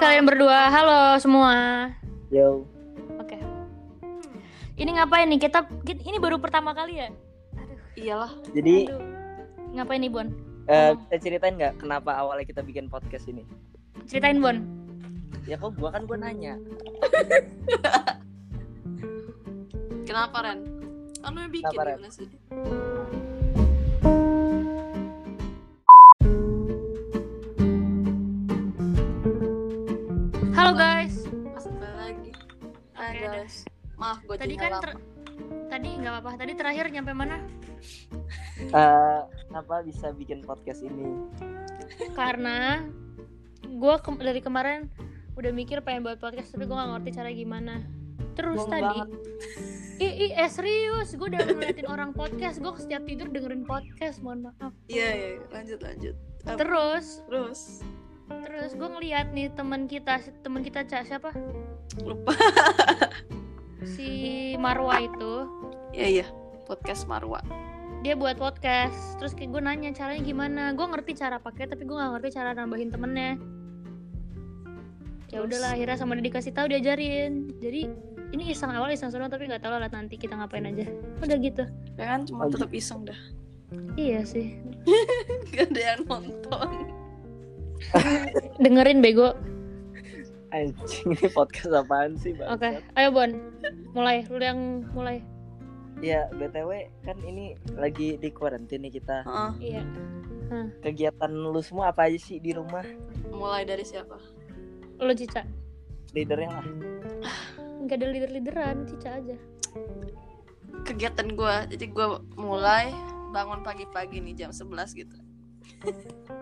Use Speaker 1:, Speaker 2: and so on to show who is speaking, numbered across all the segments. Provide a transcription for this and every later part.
Speaker 1: kalian berdua. Halo semua.
Speaker 2: Yo,
Speaker 1: Oke. Ini ngapain nih? Kita ini baru pertama kali ya?
Speaker 3: Iyalah.
Speaker 2: jadi
Speaker 1: Aduh. Ngapain nih, Bon?
Speaker 2: eh, kita ceritain nggak kenapa awalnya kita bikin podcast ini?
Speaker 1: Ceritain, Bon.
Speaker 2: Ya kok gua kan gua nanya.
Speaker 3: Kenapa Ren? Kan lu yang bikin
Speaker 2: Kenapa, Ren?
Speaker 3: gimana sih?
Speaker 1: Halo, guys.
Speaker 3: Mas Mbak lagi. Ah,
Speaker 1: Oke,
Speaker 3: guys. Maaf gue
Speaker 1: Tadi kan ter- tadi nggak apa-apa. Tadi terakhir nyampe mana?
Speaker 2: Eh, kenapa bisa bikin podcast ini?
Speaker 1: Karena gua ke- dari kemarin udah mikir pengen buat podcast tapi gua gak ngerti cara gimana. Terus
Speaker 3: Bohong
Speaker 1: tadi Ih, ih, eh, serius, gue udah ngeliatin orang podcast, gue setiap tidur dengerin podcast, mohon maaf.
Speaker 3: Iya iya lanjut lanjut. Apa?
Speaker 1: Terus,
Speaker 3: Terus
Speaker 1: terus gue ngeliat nih teman kita, teman kita Ca, siapa?
Speaker 3: lupa.
Speaker 1: si Marwa itu
Speaker 3: Iya iya podcast Marwa.
Speaker 1: dia buat podcast terus kayak gue nanya caranya gimana gue ngerti cara pakai tapi gue nggak ngerti cara nambahin temennya ya
Speaker 3: Terus?
Speaker 1: udahlah akhirnya sama dia dikasih tahu diajarin jadi ini iseng awal iseng seru tapi nggak tahu lah nanti kita ngapain aja udah gitu
Speaker 3: Ya kan cuma
Speaker 2: Oh,
Speaker 3: tetap iseng dah.
Speaker 1: iya sih
Speaker 3: Gak ada yang nonton.
Speaker 1: dengerin bego
Speaker 2: Anjing ini podcast apaan sih, Bang?
Speaker 1: oke ayo Bon mulai lu yang mulai
Speaker 2: Ya btw kan ini lagi di kuarantin nih kita.
Speaker 3: Heeh,
Speaker 1: iya
Speaker 2: Kegiatan lu semua apa aja sih di rumah?
Speaker 3: mulai dari siapa?
Speaker 1: lu Cica
Speaker 2: Leadernya lah.
Speaker 1: nggak ada leader leaderan Cica aja
Speaker 3: Kegiatan gue. Jadi gue mulai bangun pagi-pagi nih jam 11 gitu.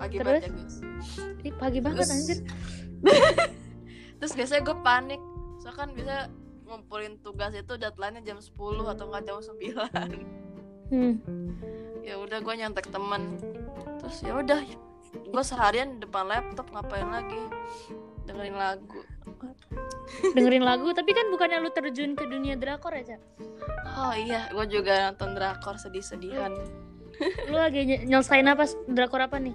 Speaker 3: Pagi banget ya, guys.
Speaker 1: ini pagi banget
Speaker 3: Terus-
Speaker 1: anjir
Speaker 3: Terus biasanya gue panik. Soalnya kan bisa ngumpulin tugas itu deadline-nya jam 10 atau enggak jam 9.
Speaker 1: hmm.
Speaker 3: ya udah gue nyontek temen terus ya udah gue seharian depan laptop ngapain lagi dengerin lagu
Speaker 1: dengerin lagu tapi kan bukannya lu terjun ke dunia drakor ya Ca?
Speaker 3: oh iya gue juga nonton drakor sedih-sedihan
Speaker 1: lu lagi ny- nyelesain apa drakor apa nih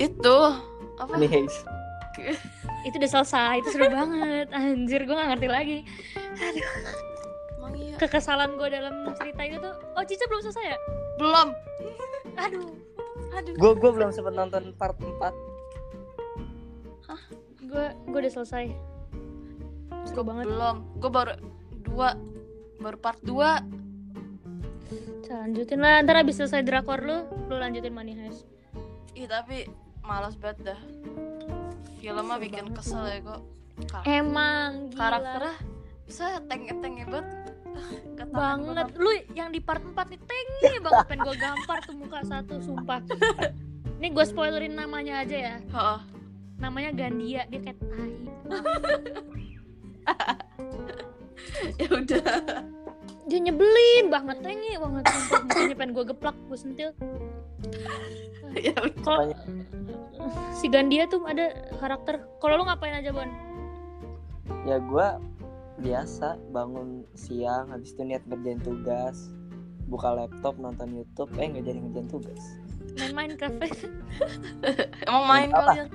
Speaker 3: itu apa
Speaker 2: Nih, guys.
Speaker 1: itu udah selesai itu seru banget anjir gue gak ngerti lagi
Speaker 3: emang iya
Speaker 1: kekesalan gue dalam cerita itu tuh oh Cica belum selesai ya
Speaker 3: belum
Speaker 1: aduh
Speaker 3: aduh
Speaker 2: Gua gua belum sempat nonton part 4.
Speaker 1: gue gue udah selesai seru banget
Speaker 3: belum gue baru dua baru part dua
Speaker 1: Ca, lanjutin lah ntar abis selesai drakor lu lu lanjutin Money Heist
Speaker 3: ih tapi malas banget dah filmnya bikin kesel ya gue
Speaker 1: emang Eh, gila
Speaker 3: karakternya bisa teng-tengnya banget Ah, nggak tahan gua
Speaker 1: banget lu yang di part 4 nih tengi banget pengen gue gampar tuh muka satu sumpah ini gue spoilerin namanya aja ya
Speaker 3: nggak- Heeh.
Speaker 1: namanya Gandia dia kayak tai
Speaker 3: ya udah
Speaker 1: dia nyebelin banget tengi banget sumpah mukanya pengen gue geplak gue sentil
Speaker 3: ya udah
Speaker 1: kalau si Gandia tuh ada karakter kalau lu ngapain aja Bon
Speaker 2: Ya gua biasa bangun siang habis itu niat ngerjain tugas buka laptop nonton YouTube eh nggak jadi ngerjain tugas
Speaker 1: main Minecraft
Speaker 3: emang main
Speaker 2: Apa?
Speaker 3: kalian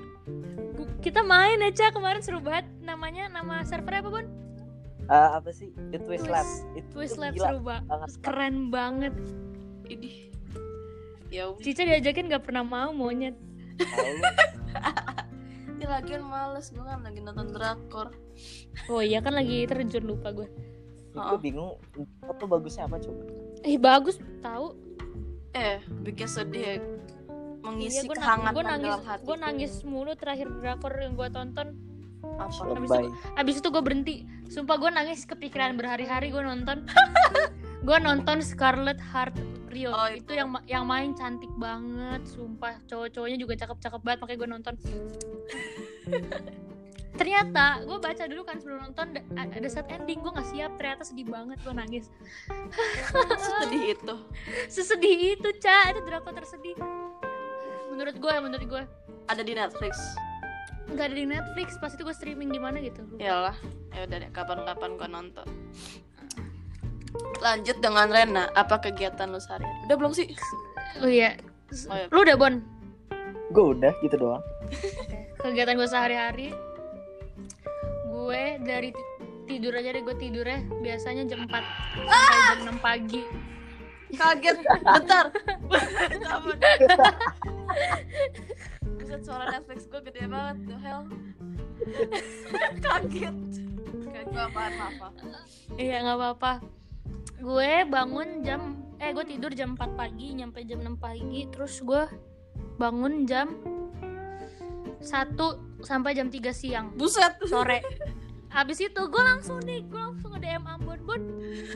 Speaker 1: Gu- kita main aja kemarin seru banget namanya nama servernya apa Bon
Speaker 2: Eh, apa sih The Twist
Speaker 1: Twist-
Speaker 2: Lab itu
Speaker 1: Twist Lab
Speaker 2: gila
Speaker 1: seru banget
Speaker 2: banget
Speaker 1: keren banget
Speaker 3: Idih. Ya udah.
Speaker 1: Cica diajakin gak pernah mau monyet
Speaker 2: Tahu lu.
Speaker 3: Ini lagian males gue kan lagi nonton drakor.
Speaker 1: oh iya kan lagi terjun lupa gue Oh.
Speaker 2: Gue bingung itu bagusnya apa coba?
Speaker 1: ih bagus tahu
Speaker 3: Eh, bikin sedih ya. Mengisi
Speaker 1: gue
Speaker 3: kehangatan
Speaker 1: nangis
Speaker 3: dalam hati.
Speaker 1: gue nangis mulu terakhir drakor yang gue tonton
Speaker 3: Apa?
Speaker 1: Habis
Speaker 2: Lebay.
Speaker 1: abis itu gue berhenti sumpah gue nangis kepikiran berhari-hari gue nonton gue nonton Scarlet Heart Rio
Speaker 3: Oh,
Speaker 1: itu yang ma- yang main cantik banget sumpah cowok-cowoknya juga cakep-cakep banget makanya gue nonton ternyata gue baca dulu kan sebelum nonton da- a- ada set ending gue nggak siap ternyata sedih banget gue nangis
Speaker 3: Sedih itu.
Speaker 1: sesedih itu ca itu drakor tersedih menurut gue menurut gue
Speaker 3: Ada di Netflix.
Speaker 1: nggak ada di Netflix pas itu gue streaming di mana gitu
Speaker 3: Iyalah. Ya udah deh, kapan-kapan gue nonton. Lanjut dengan Rena, apa kegiatan lu sehari? Udah belum sih?
Speaker 1: oh iya
Speaker 3: Oh, iya.
Speaker 1: lu udah bon
Speaker 2: Gue udah gitu doang.
Speaker 1: kegiatan gue sehari-hari gue dari ti- tidur aja deh gue tidurnya biasanya jam 4 sampai jam 6 pagi
Speaker 3: Kaget. Bentar. Sabar. Buset suara Netflix gue gede banget. The hell. Kaget. Kayak gue apaan maaf. maaf.
Speaker 1: iya nggak apa-apa gue bangun jam eh gue tidur jam 4 pagi nyampe jam 6 pagi terus gue bangun jam 1 sampai jam 3 siang
Speaker 3: Buset.
Speaker 1: sore abis itu gue langsung nih gue langsung nge DM Ambon Bon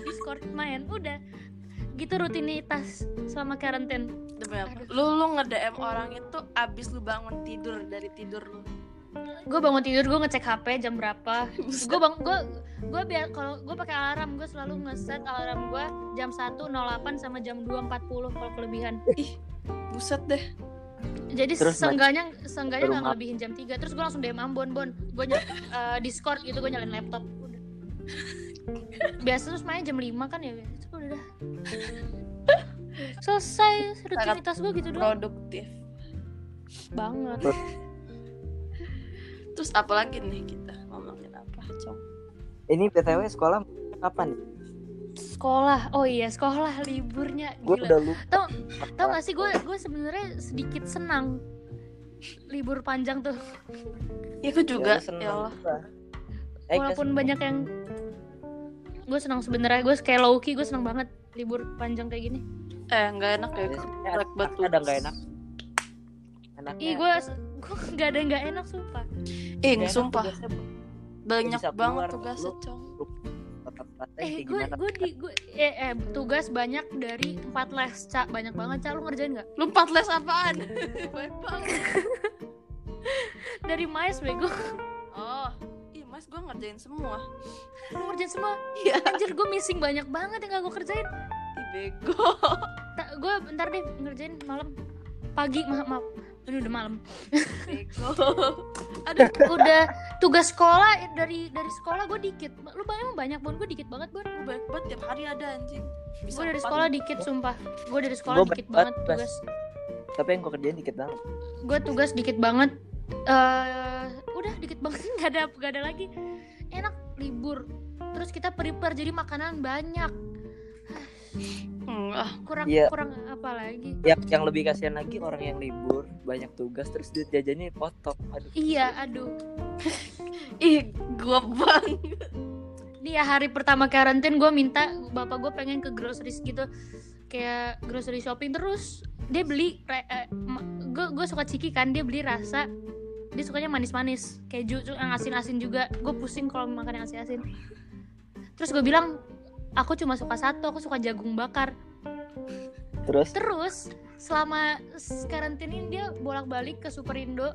Speaker 1: Discord main udah gitu rutinitas selama karantin
Speaker 3: Demi apa? Lu lu nge-DM orang itu abis lu bangun tidur dari tidur lu.
Speaker 1: gue bangun tidur gue ngecek HP jam berapa
Speaker 3: Buset.
Speaker 1: gue bang gue gue biar kalau gue pakai alarm gue selalu ngeset alarm gue jam 1.08 sama jam 2.40 kalau kelebihan
Speaker 3: Buset deh.
Speaker 1: jadi
Speaker 2: Terus
Speaker 1: seenggaknya seenggaknya nggak
Speaker 2: rumah.
Speaker 1: ngelebihin jam 3 terus gue langsung DM Ambon Bon gue ny- eh, Discord gitu gue nyalain laptop Udah. biasa terus main jam 5 kan ya itu udah selesai rutinitas gue gitu doang
Speaker 3: Produktif.
Speaker 1: banget
Speaker 3: Terus apalagi nih kita ngomongin apa? Cong.
Speaker 2: Ini btw sekolah kapan? nih?
Speaker 1: sekolah oh iya sekolah liburnya
Speaker 2: Gue
Speaker 1: gila
Speaker 2: udah lupa. Ya,
Speaker 1: Tau- tau gak sih gue gue sebenarnya sedikit senang libur panjang tuh
Speaker 3: Ya gue juga.
Speaker 2: Ya, seneng
Speaker 3: Ya Allah.
Speaker 2: gua. Eh,
Speaker 1: walaupun
Speaker 2: kes-
Speaker 1: banyak yang gue senang sebenarnya gue kayak Loki gue senang banget libur panjang kayak gini
Speaker 3: Eh nggak enak ya.
Speaker 2: Biasanya ada-
Speaker 3: Black batu.
Speaker 2: ada nggak enak? Enaknya
Speaker 1: Ih gue gue nggak ada nggak enak sumpah.
Speaker 2: Nah,
Speaker 3: Ih
Speaker 2: nggak enak
Speaker 3: sumpah.
Speaker 2: tugasnya
Speaker 3: Banyak
Speaker 2: Bisa
Speaker 3: banget
Speaker 2: keluar,
Speaker 3: tugasnya
Speaker 2: lu.
Speaker 3: Cong.
Speaker 2: tetap rasain
Speaker 1: Eh
Speaker 2: kayak
Speaker 1: gue
Speaker 2: gimana?
Speaker 1: gue di gue eh, eh, tugas banyak dari empat les cak banyak banget cak lu ngerjain nggak?
Speaker 3: Lu empat les apaan? Baik banget.
Speaker 1: Dari mais bego
Speaker 3: Oh. Ih mas gue ngerjain semua.
Speaker 1: lu ngerjain semua.
Speaker 3: Iya.
Speaker 1: Anjir gue missing banyak banget yang gak gue kerjain.
Speaker 3: Ih bego.
Speaker 1: Ta- gue bentar deh ngerjain malam pagi maaf maaf. Aduh, udah malam.
Speaker 3: Bego.
Speaker 1: Udah tugas sekolah eh, dari dari sekolah gue dikit. Lu bayang banyak bon gue dikit banget bon.
Speaker 3: Gue banyak banget tiap hari ada anjing.
Speaker 1: Gue dari
Speaker 3: empat.
Speaker 1: sekolah dikit sumpah. Gue dari sekolah
Speaker 2: Gua
Speaker 1: dikit
Speaker 2: banyak
Speaker 1: banget
Speaker 2: banget tugas.
Speaker 1: tugas.
Speaker 2: Tapi yang gue kerjain dikit banget.
Speaker 1: gue tugas dikit banget eh udah dikit banget nggak ada nggak ada lagi enak libur terus kita prepare jadi makanan banyak
Speaker 3: Hmm, ah,
Speaker 1: kurang
Speaker 2: Iya.
Speaker 1: kurang apa lagi
Speaker 2: Yang yang lebih kasihan lagi orang yang libur, banyak tugas terus duit jajannya potong. Aduh.
Speaker 1: iya aduh
Speaker 3: Ih, gue bang.
Speaker 1: dia ya, hari pertama karantin gue minta bapak gue pengen ke groceries gitu kayak grocery shopping terus dia beli eh, gue gue suka ciki kan dia beli rasa dia sukanya manis-manis keju cu- yang asin-asin juga gue pusing kalau makan yang asin-asin terus gue bilang aku cuma suka satu aku suka jagung bakar
Speaker 2: Terus
Speaker 1: terus selama s- karantina ini dia bolak-balik ke Superindo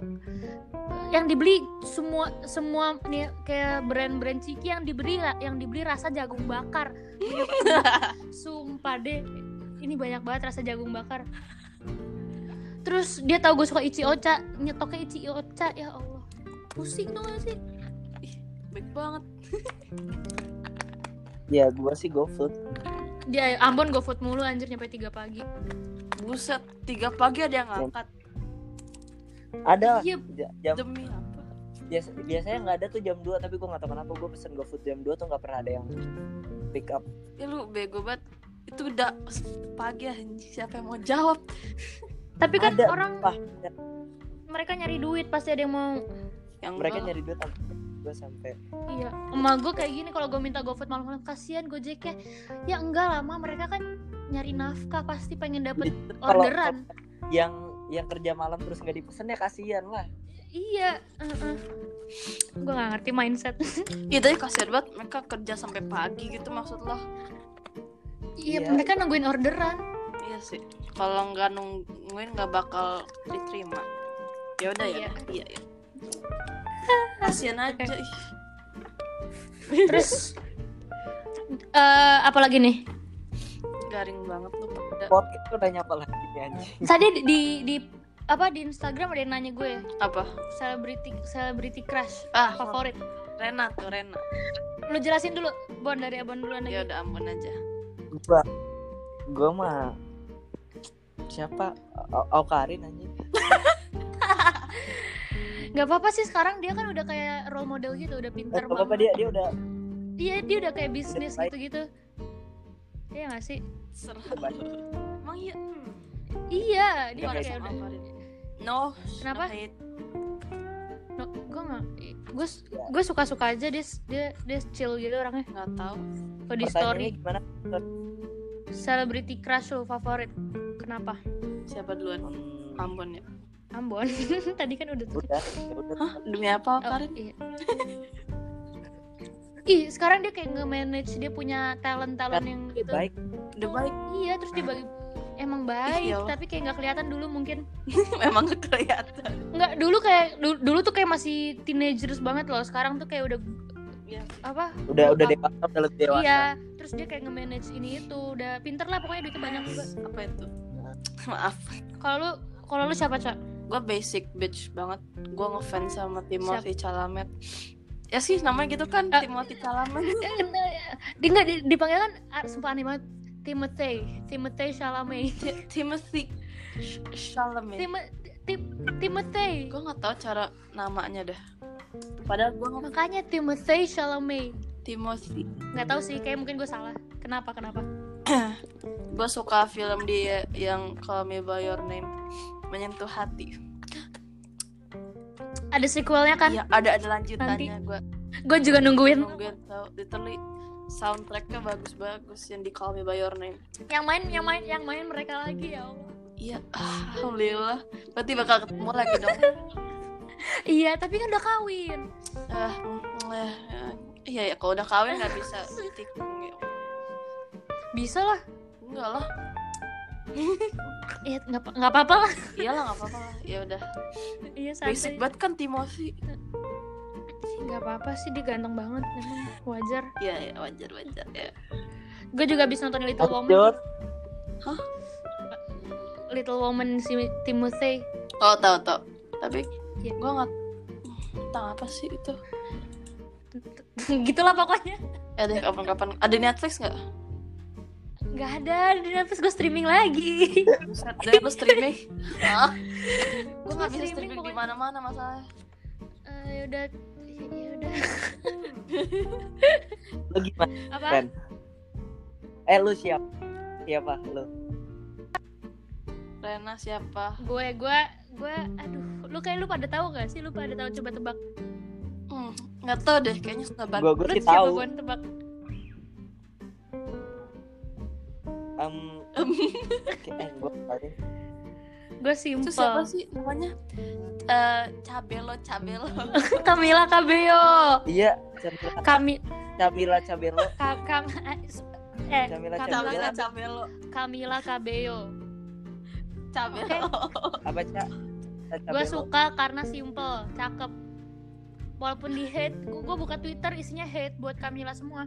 Speaker 1: yang dibeli semua semua nih kayak brand-brand ciki yang dibeli ra- yang dibeli rasa jagung bakar sumpah deh ini banyak banget rasa jagung bakar terus dia tahu gue suka ichi ocha nyetoknya ichi ocha ya allah pusing tuh gak sih
Speaker 3: Baik banget.
Speaker 2: ya gue sih GoFood.
Speaker 1: dia ambon gue food mulu anjir nyampe 3 pagi
Speaker 3: Buset, tiga pagi ada yang ngangkat.
Speaker 2: Ada
Speaker 1: iya
Speaker 2: Ja- jam
Speaker 3: Demi apa?
Speaker 2: biasa, biasanya nggak ada tuh jam 2 tapi gue nggak tahu kenapa gue pesen GoFood jam 2 tuh nggak pernah ada yang pick up.
Speaker 3: Ya lu bego banget. Itu udah pagi anjing. Siapa yang mau jawab?
Speaker 1: tapi kan
Speaker 2: Ada.
Speaker 1: orang
Speaker 2: Wah,
Speaker 1: mereka nyari duit pasti ada yang mau
Speaker 3: Yang
Speaker 2: mereka
Speaker 1: Oh.
Speaker 3: enggak.
Speaker 2: nyari duit gue sampai
Speaker 1: Iya, emak gue kayak gini kalau gue minta GoFood malam-malam kasihan Gojeknya. Ya enggak lah, Ma, mereka kan nyari nafkah pasti pengen dapet
Speaker 2: kalau
Speaker 1: orderan.
Speaker 2: yang yang kerja malam terus nggak dipesen ya kasihan lah.
Speaker 1: Iya, heeh. Gue gak ngerti mindset.
Speaker 3: Iya tadi kasihan banget mereka kerja sampai pagi gitu maksud lo.
Speaker 1: Iya,
Speaker 2: Iya.
Speaker 1: mereka nungguin orderan.
Speaker 3: Iya sih. Kalau nggak nungguin nggak bakal diterima. Ya udah ya.
Speaker 1: Iya.
Speaker 3: Iya ya. Kasihan aja. ih.
Speaker 1: Terus eh apalagi nih?
Speaker 3: Garing banget lu pada.
Speaker 2: Podcast tuh nanya apa lagi nih anjing.
Speaker 1: Tadi di, di di- apa di Instagram ada yang nanya gue
Speaker 3: Apa?
Speaker 1: celebrity celebrity crush
Speaker 3: Ah,
Speaker 1: favorit.
Speaker 3: Rena tuh Rena.
Speaker 1: Lu jelasin dulu, Bon dari Abon duluan
Speaker 3: Ya
Speaker 2: Iya.
Speaker 1: lagi.
Speaker 3: udah ampun aja.
Speaker 2: Gua gua mah Eh, siapa? Aukarin anjing.
Speaker 1: nggak apa-apa sih sekarang dia kan udah kayak role model gitu udah
Speaker 2: Eh,
Speaker 1: pinter
Speaker 2: gak apa-apa dia dia udah
Speaker 1: dia dia udah kayak bisnis
Speaker 2: baik.
Speaker 1: gitu-gitu Iya gak sih?
Speaker 3: Serah.
Speaker 2: Coba.
Speaker 3: Emang iya. Hmm.
Speaker 1: Iya, dia
Speaker 2: Udah
Speaker 1: udah
Speaker 2: kayak
Speaker 1: kayak
Speaker 3: sama
Speaker 1: udah.
Speaker 3: Farid. No.
Speaker 1: Kenapa?
Speaker 3: no hate.
Speaker 1: No, gue nggak, gue gue suka suka aja dia dia dia chill gitu orangnya.
Speaker 3: Nggak tahu.
Speaker 1: Kalau di
Speaker 2: pertanyaannya
Speaker 1: story,
Speaker 2: gimana
Speaker 1: celebrity crush lo favorit? Kenapa?
Speaker 3: Siapa duluan?
Speaker 2: Hmm,
Speaker 1: Gitu.
Speaker 3: Ambon ya.
Speaker 1: Ambon. Tadi kan udah tuh.
Speaker 2: udah ya udah
Speaker 3: Hah? Demi apa
Speaker 1: Oh,
Speaker 3: Farid?
Speaker 1: iya. Ih, sekarang dia kayak nge-manage dia punya talent-talent yang gitu.
Speaker 2: baik
Speaker 3: Udah baik.
Speaker 1: Iya, terus dia bagi emang baik,
Speaker 3: Iya.
Speaker 1: tapi kayak nggak kelihatan dulu mungkin.
Speaker 3: Memang kelihatan.
Speaker 1: Nggak dulu kayak du- dulu tuh kayak masih teenagers banget loh. Sekarang tuh kayak udah
Speaker 3: Iya.
Speaker 1: apa?
Speaker 2: udah udah
Speaker 1: Apa?
Speaker 2: dewasa udah lebih dewasa
Speaker 1: Iya, terus dia kayak nge-manage ini itu. Udah pinter lah pokoknya duitnya banyak juga.
Speaker 3: Apa itu? Maaf.
Speaker 1: Kalau lu kalau lu siapa, Cak?
Speaker 3: Gue basic bitch banget. Gue ngefans sama Timothy Chalamet. Ya sih namanya gitu kan
Speaker 1: Ah.
Speaker 3: Timothy Chalamet.
Speaker 1: Eh, eh, Dia nggak di- dipanggil kan ah, sumpah aneh banget. Timothy, Timothy Chalamet.
Speaker 3: Ti- Timothy Sh- Chalamet.
Speaker 1: Tim, tim, Timothy.
Speaker 3: Gue nggak tahu cara namanya dah. Padahal gue ngefans
Speaker 1: Makanya Timothy Chalamet.
Speaker 3: Timothy.
Speaker 1: Nggak tahu sih, kayak mungkin gue salah. Kenapa? Kenapa?
Speaker 3: Gue suka film dia yang Call Me By Your Name menyentuh hati.
Speaker 1: Ada sequelnya kan?
Speaker 3: Iya ada ada lanjutannya gue.
Speaker 1: Gue juga nungguin.
Speaker 3: Nungguin tau. Literally soundtracknya bagus-bagus yang di Call Me By Your Name.
Speaker 1: Yang main, yang main, yang main mereka lagi ya Allah.
Speaker 3: Iya, alhamdulillah. Berarti bakal ketemu lagi dong.
Speaker 1: Iya, tapi kan udah kawin.
Speaker 3: Ah, mm, eh, eh. Iya, ya kalau udah kawin nggak bisa tikung ya.
Speaker 1: Bisa lah.
Speaker 3: Enggak lah,
Speaker 1: Eh, nggak apa- nggak apa-apa lah.
Speaker 3: iyalah nggak apa-apa lah. Ya udah.
Speaker 1: Iya, santai.
Speaker 3: Basic banget kan Timothy.
Speaker 1: Nggak apa-apa sih, dia ganteng banget. Memang wajar.
Speaker 3: Iya, ya, wajar wajar ya.
Speaker 1: Gue juga habis nonton Little Woman.
Speaker 2: lanjut
Speaker 1: Little Woman si Timothy.
Speaker 3: Oh, tahu tahu. Tapi
Speaker 1: Iya.
Speaker 3: gua nggak tentang apa sih itu?
Speaker 1: Gitulah Gitu pokoknya.
Speaker 3: Ya deh kapan-kapan. Ada Netflix nggak?
Speaker 1: Nggak ada di Netflix gue streaming lagi.
Speaker 3: Buset, deh gua streaming. Hah? Gua
Speaker 1: Gua
Speaker 3: nggak bisa
Speaker 1: streaming
Speaker 3: streaming di
Speaker 1: pokoknya.
Speaker 3: mana-mana masalahnya.
Speaker 1: Eh, yaudah, Ya yaudah.
Speaker 2: lu gimana
Speaker 1: Apa?
Speaker 2: Ren eh lu siap siapa lu
Speaker 3: Rena siapa?
Speaker 1: gue gue gue aduh lu kayak lu pada tahu gak sih lu pada tahu coba tebak
Speaker 3: Hmm, nggak tahu deh. Kayaknya susah banget.
Speaker 2: gua
Speaker 1: lu
Speaker 2: gua sih
Speaker 1: siapa
Speaker 2: tahu
Speaker 1: gue tebak
Speaker 2: Em, kayak- eh gua paling
Speaker 1: gue
Speaker 3: Itu
Speaker 1: simple
Speaker 3: siapa sih namanya? Eh, Cabelo, Cabelo.
Speaker 1: Camila Cabello
Speaker 2: iya Camila
Speaker 1: kami
Speaker 2: Camila Cabello
Speaker 1: ka, kam eh Camila
Speaker 2: Camila
Speaker 3: Cabela, Cabelo,
Speaker 1: Camila Cabello
Speaker 3: Cabelo.
Speaker 2: apa cak
Speaker 1: gue suka karena simple cakep walaupun di hate gue buka Twitter isinya hate buat Camila semua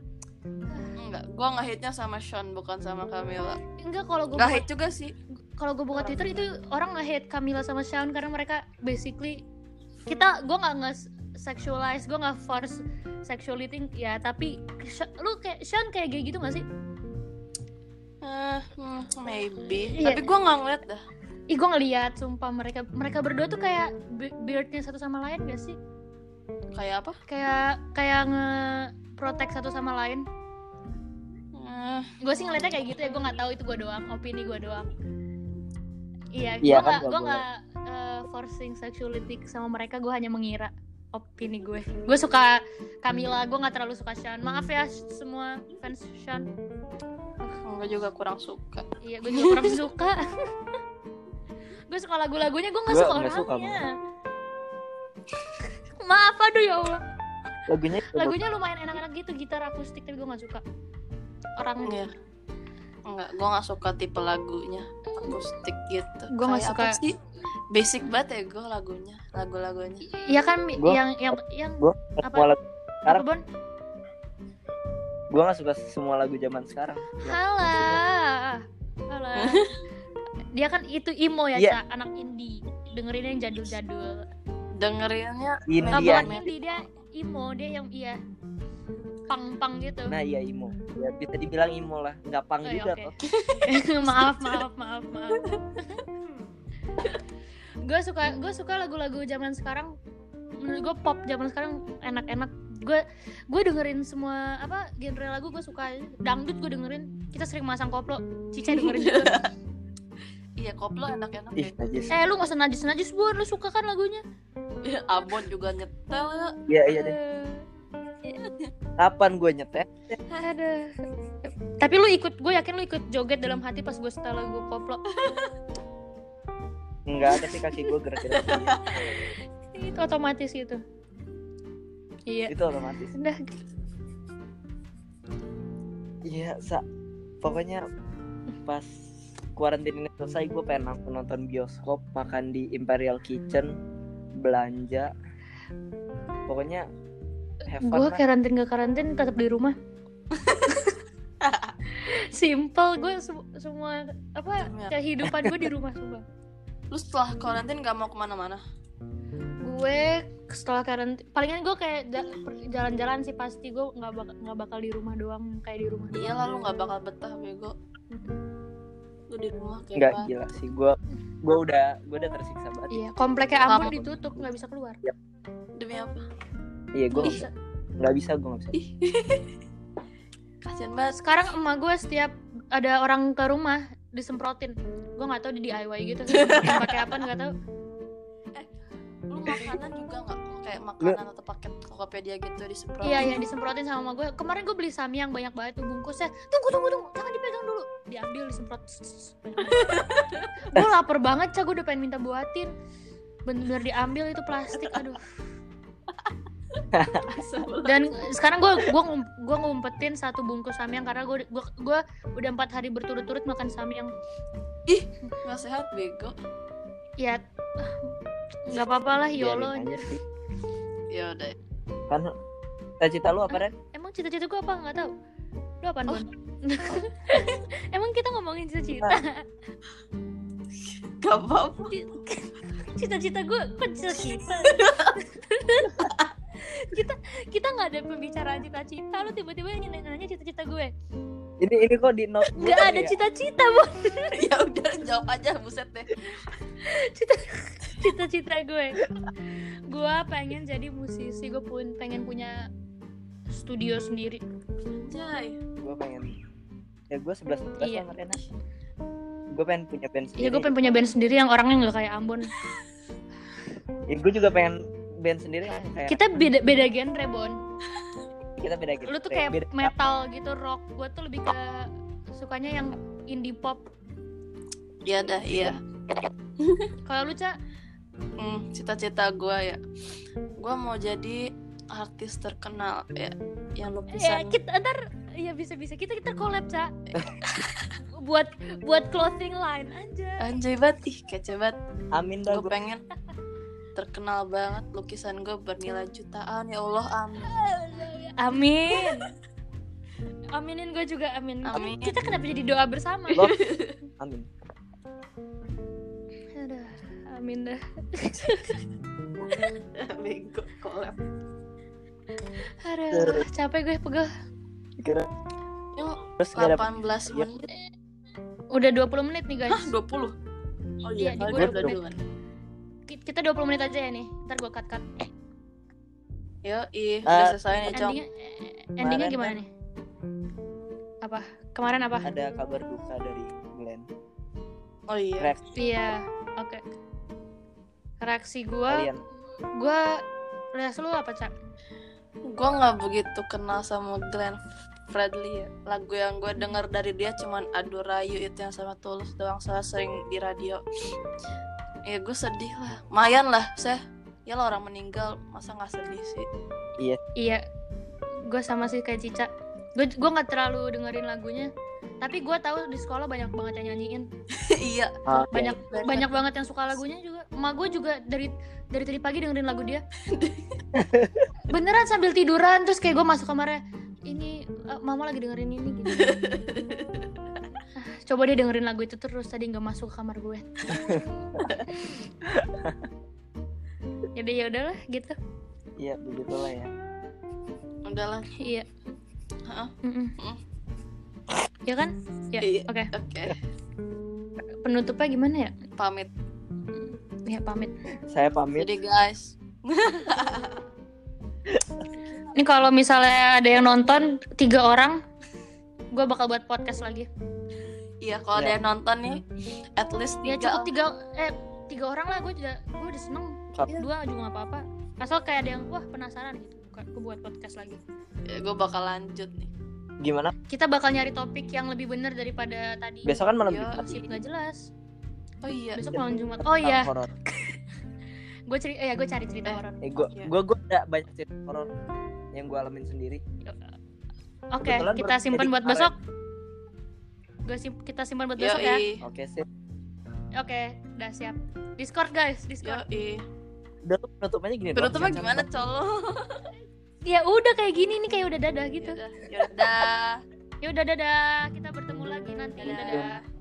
Speaker 3: Enggak, gua ngehitnya sama Sean bukan sama Camila.
Speaker 1: enggak kalau gue
Speaker 3: Enggak hit juga sih.
Speaker 1: kalau gue buka Twitter itu orang nge-hate Camila sama Shawn karena mereka basically kita gue nggak nge sexualize gue nggak force sexuality ya tapi Sha- lu kayak Shawn kayak gay gitu gak sih?
Speaker 3: Eh, hmm, maybe.
Speaker 1: Iya.
Speaker 3: Tapi gua nggak ngeliat dah.
Speaker 1: Ih gue ngeliat sumpah mereka mereka berdua tuh kayak be- beardnya satu sama lain gak sih?
Speaker 3: Kayak apa?
Speaker 1: Kayak kayak nge protect satu sama lain.
Speaker 3: Eh,
Speaker 1: Gue sih ngeliatnya kayak gitu ya gue nggak tahu itu gue doang opini gue doang. Iya, gue
Speaker 2: Iya,
Speaker 1: nggak
Speaker 2: kan nggak
Speaker 1: gue
Speaker 2: boleh.
Speaker 1: nggak eh, forcing sexuality sama mereka, gue hanya mengira opini gue. Gue suka Camila, gue nggak terlalu suka Sean. Maaf ya sh- semua fans Sean.
Speaker 3: gua juga kurang suka.
Speaker 1: Iya, gue juga kurang suka. gue suka lagu-lagunya, gue nggak
Speaker 2: Gua
Speaker 1: suka
Speaker 2: nggak suka,
Speaker 1: orangnya. Maaf aduh ya Allah.
Speaker 2: lagunya juga
Speaker 1: Lagunya lumayan enak-enak gitu, gitar akustik tapi gue nggak suka orangnya.
Speaker 3: Iya. Enggak, gua nggak suka tipe lagunya akustik gitu.
Speaker 1: Gua nggak
Speaker 3: Kayak apa
Speaker 1: suka-
Speaker 3: sih. Basic banget ya gua lagunya, lagu-lagunya.
Speaker 1: Iya kan Mi?
Speaker 2: Gua-
Speaker 1: yang yang yang
Speaker 2: gua
Speaker 1: apa?
Speaker 2: semua lagu
Speaker 1: apa
Speaker 2: sekarang
Speaker 1: Bon?
Speaker 2: gua nggak suka semua lagu zaman sekarang
Speaker 1: Halah. Halah. Dia kan itu emo ya,
Speaker 2: Iya.
Speaker 1: Ca, anak indie. Dengerin yang jadul-jadul.
Speaker 3: Dengerinnya
Speaker 2: Ini
Speaker 1: Nah,
Speaker 2: dia.
Speaker 1: bukan indie dia emo, dia yang iya pang-pang gitu.
Speaker 2: nah iya imo ya bisa dibilang imo lah nggak pang
Speaker 1: Oh, iya,
Speaker 2: juga
Speaker 1: oke.
Speaker 2: toh
Speaker 1: maaf, maaf, maaf, maaf. gue suka gue suka lagu-lagu zaman sekarang menurut gue pop zaman sekarang enak-enak gue gue dengerin semua apa genre lagu gue suka dangdut gue dengerin kita sering masang koplo cica dengerin juga
Speaker 3: Iya koplo enak-enak deh.
Speaker 2: ih najis
Speaker 1: eh lu nggak usah najis najis bu lu suka kan lagunya
Speaker 3: ya. Abon juga nyetel ya.
Speaker 2: iya iya deh kapan gue nyetet
Speaker 1: Eh, aduh. tapi lu ikut gue yakin lu ikut joget dalam hati pas gue setel lagu koplo
Speaker 2: enggak tapi kaki gue gerak-gerak sendiri.
Speaker 1: itu otomatis gitu iya
Speaker 2: itu otomatis
Speaker 1: udah
Speaker 2: iya sa pokoknya pas kuarantin ini selesai gue pengen langsung nonton bioskop makan di Imperial Kitchen belanja pokoknya have fun
Speaker 1: gue
Speaker 2: lah.
Speaker 1: karantin gak karantin tetap di rumah simple gue se- semua apa
Speaker 3: Ternyata.
Speaker 1: kehidupan gue di rumah semua
Speaker 3: Lu setelah karantin gak mau kemana-mana?
Speaker 1: gue setelah karantin palingan gue kayak ja- per- jalan-jalan sih pasti gue nggak bakal nggak bakal di rumah doang kayak di rumah
Speaker 3: Iya lah lu gak bakal betah bego. Lu di rumah kayak
Speaker 2: nggak iya.
Speaker 3: apa?
Speaker 2: gila sih gue gue udah gue udah tersiksa banget
Speaker 1: iya kompleknya Ambon
Speaker 3: Apa?
Speaker 1: ditutup nggak bisa keluar
Speaker 3: Demi apa?
Speaker 2: iya
Speaker 1: Nggak
Speaker 2: gue nggak
Speaker 1: bisa.
Speaker 2: nggak bisa gue nggak bisa
Speaker 3: Ih. Kasian banget.
Speaker 1: sekarang emak gue setiap ada orang ke rumah disemprotin gue nggak tahu di DIY gitu pakai apa nggak tahu
Speaker 3: Lu makanan juga gak kayak makanan atau paket Tokopedia gitu disemprot.
Speaker 1: Iya iya disemprotin sama emak gue. Kemarin gue beli samyang banyak banget tuh bungkusnya. Tunggu tunggu tunggu, jangan dipegang dulu. Diambil disemprot. gue lapar banget, cah gue udah pengen minta buatin. Bener diambil itu plastik, aduh. Dan sekarang gue gua ngum- gua ngumpetin satu bungkus samyang karena gue gua, gua udah empat hari berturut-turut makan samyang.
Speaker 3: Gak sehat bego.
Speaker 1: Ya ah, nggak apa-apa lah yolo ya
Speaker 2: Biarin
Speaker 1: anjir.
Speaker 2: aja sih.
Speaker 3: Ya udah.
Speaker 2: kan cita-cita lu apa Ren?
Speaker 1: Emang cita-cita gue apa nggak tahu. Lu apa Bon? Emang kita ngomongin cita-cita.
Speaker 2: Nah,
Speaker 3: Gak apa-apa.
Speaker 1: cita-cita gue kok cita-cita kita kita nggak ada pembicaraan cita-cita lu tiba-tiba yang nanya cita-cita gue
Speaker 2: ini ini kok di note gua
Speaker 1: nggak
Speaker 2: kali
Speaker 1: ada
Speaker 2: ya?
Speaker 1: cita-cita bu
Speaker 3: ya udah jawab aja buset deh.
Speaker 1: cita-cita gue gue pengen jadi musisi gue pun pengen punya studio sendiri
Speaker 3: Anjay.
Speaker 2: gue pengen ya gue sebelas sebelas
Speaker 1: Iya.
Speaker 2: sama Ren gue pengen punya band sendiri
Speaker 1: ya gue pengen punya band sendiri yang orangnya nggak kayak Ambon
Speaker 2: Ya, gua juga pengen band sendiri yang kayak
Speaker 1: kita beda beda genre Bon
Speaker 2: kita beda gitu
Speaker 1: lu tuh kayak
Speaker 2: beda-
Speaker 1: metal gitu rock gue tuh lebih ke sukanya yang indie pop
Speaker 3: Ya dah, iya.
Speaker 1: kalau lu cak
Speaker 3: Hmm, cita-cita gue ya. Gue mau jadi artis terkenal ya yang
Speaker 1: Ya,
Speaker 3: lukisan
Speaker 1: kita ntar ya bisa-bisa kita kita collab, Cak. buat buat clothing line aja.
Speaker 3: anjay banget ih kece banget
Speaker 2: amin dah
Speaker 3: gue
Speaker 2: gue
Speaker 3: pengen terkenal banget lukisan gue bernilai jutaan ya Allah amin
Speaker 1: Amin. Aminin gue juga amin.
Speaker 3: Amin.
Speaker 1: Kita kenapa jadi doa bersama?
Speaker 2: Lo- amin
Speaker 1: Aduh, amin dah.
Speaker 3: bego collab
Speaker 1: Aduh, capek gue pegel.
Speaker 3: yuk
Speaker 2: terus gak ada
Speaker 3: 18 menit
Speaker 1: Udah 20 menit nih,
Speaker 3: ah
Speaker 1: guys.
Speaker 3: 20 oh
Speaker 1: Iya,
Speaker 3: iya
Speaker 1: di
Speaker 3: kali
Speaker 1: gua
Speaker 3: gua
Speaker 1: 20
Speaker 3: udah duluan
Speaker 1: Ki- Kita 20 menit aja ya nih. Ntar gue cut-cut.
Speaker 3: yo ih udah
Speaker 2: Eh,
Speaker 3: selesai nih com
Speaker 1: Endingnya, eh, endingnya
Speaker 2: Kemarin kan.
Speaker 1: gimana nih? Apa? Kemarin apa?
Speaker 2: ada kabar duka dari Glenn
Speaker 3: oh iya
Speaker 2: Rex
Speaker 1: Iya, oke. Reaksi gue,
Speaker 2: kalian
Speaker 1: gue... Reaksi lu apa, Cak?
Speaker 3: gue nggak begitu kenal sama Glenn Fredly ya. lagu yang gue denger dari dia cuman Aduh Rayu itu yang sama Tulus doang saya sering di radio ya gue sedih lah mayan lah saya ya lah orang meninggal masa nggak sedih sih
Speaker 1: Iya, gue sama sih kayak Cica. Gue gue nggak terlalu dengerin lagunya, tapi gue tahu di sekolah banyak banget yang nyanyiin,
Speaker 3: iya
Speaker 2: Ah,
Speaker 1: banyak
Speaker 3: Banyak.
Speaker 1: banyak banget yang suka lagunya juga. Ma gue juga dari dari tadi pagi dengerin lagu dia. Beneran sambil tiduran terus kayak gue masuk kamarnya. Ini eh, mama lagi dengerin ini gitu. Ah, Coba dia dengerin lagu itu terus tadi nggak masuk ke kamar gue. Jadi ya udahlah gitu.
Speaker 2: iya begitulah ya
Speaker 3: udahlah
Speaker 1: Iya.
Speaker 3: Heeh.
Speaker 1: Mm-mm. Ya kan? Ya.
Speaker 3: Iya.
Speaker 1: Oke.
Speaker 3: oke
Speaker 1: Penutupnya gimana ya?
Speaker 3: pamit
Speaker 1: Ya pamit.
Speaker 2: saya pamit
Speaker 3: jadi guys
Speaker 1: Ini kalau misalnya ada yang nonton tiga orang, gue bakal buat podcast lagi.
Speaker 3: Iya kalau ada
Speaker 2: Ya.
Speaker 3: yang nonton nih At least
Speaker 1: Ya
Speaker 3: tiga
Speaker 1: cukup tiga eh tiga orang lah gue juga gue udah seneng.
Speaker 3: Iya.
Speaker 2: Satu.
Speaker 1: Dua juga gak apa-apa. Asal kayak ada yang wah penasaran gitu. Gue buat podcast lagi.
Speaker 3: Gue Eh, bakal lanjut nih
Speaker 2: Gimana?
Speaker 1: Kita bakal nyari topik yang lebih bener daripada tadi.
Speaker 2: Besok kan malam
Speaker 3: Yo,
Speaker 2: Jumat.
Speaker 1: Sip nggak jelas.
Speaker 3: Oh iya
Speaker 1: Besok
Speaker 2: Jam
Speaker 1: malam
Speaker 2: lima
Speaker 1: Jumat.
Speaker 2: tentang
Speaker 1: Oh iya,
Speaker 2: horor.
Speaker 1: gue cerita ya gue cari cerita
Speaker 3: Eh.
Speaker 1: horor.
Speaker 2: Eh, gua,
Speaker 3: Iya.
Speaker 2: gua, gua ada banyak cerita horor yang gua alamin sendiri.
Speaker 1: Oke,
Speaker 2: Kebetulan
Speaker 1: kita
Speaker 2: baru
Speaker 1: simpan
Speaker 2: jadi
Speaker 3: ya?
Speaker 1: buat
Speaker 2: kemarin.
Speaker 1: besok. Gue sim kita simpan buat besok ya.
Speaker 3: Yoi
Speaker 2: Oke, sip.
Speaker 1: Oke, udah siap. Discord guys, Discord.
Speaker 3: Yoi
Speaker 2: Udah lu penutupnya gini doang,
Speaker 3: Penutupnya
Speaker 2: jangan
Speaker 3: gimana
Speaker 2: sampai-
Speaker 3: colo?
Speaker 1: Ya udah kayak gini nih kayak udah dadah gitu.
Speaker 3: Yaudah Yaudah
Speaker 1: Ya udah dadah, kita bertemu lagi nanti.
Speaker 3: Dadah.
Speaker 1: Dadah.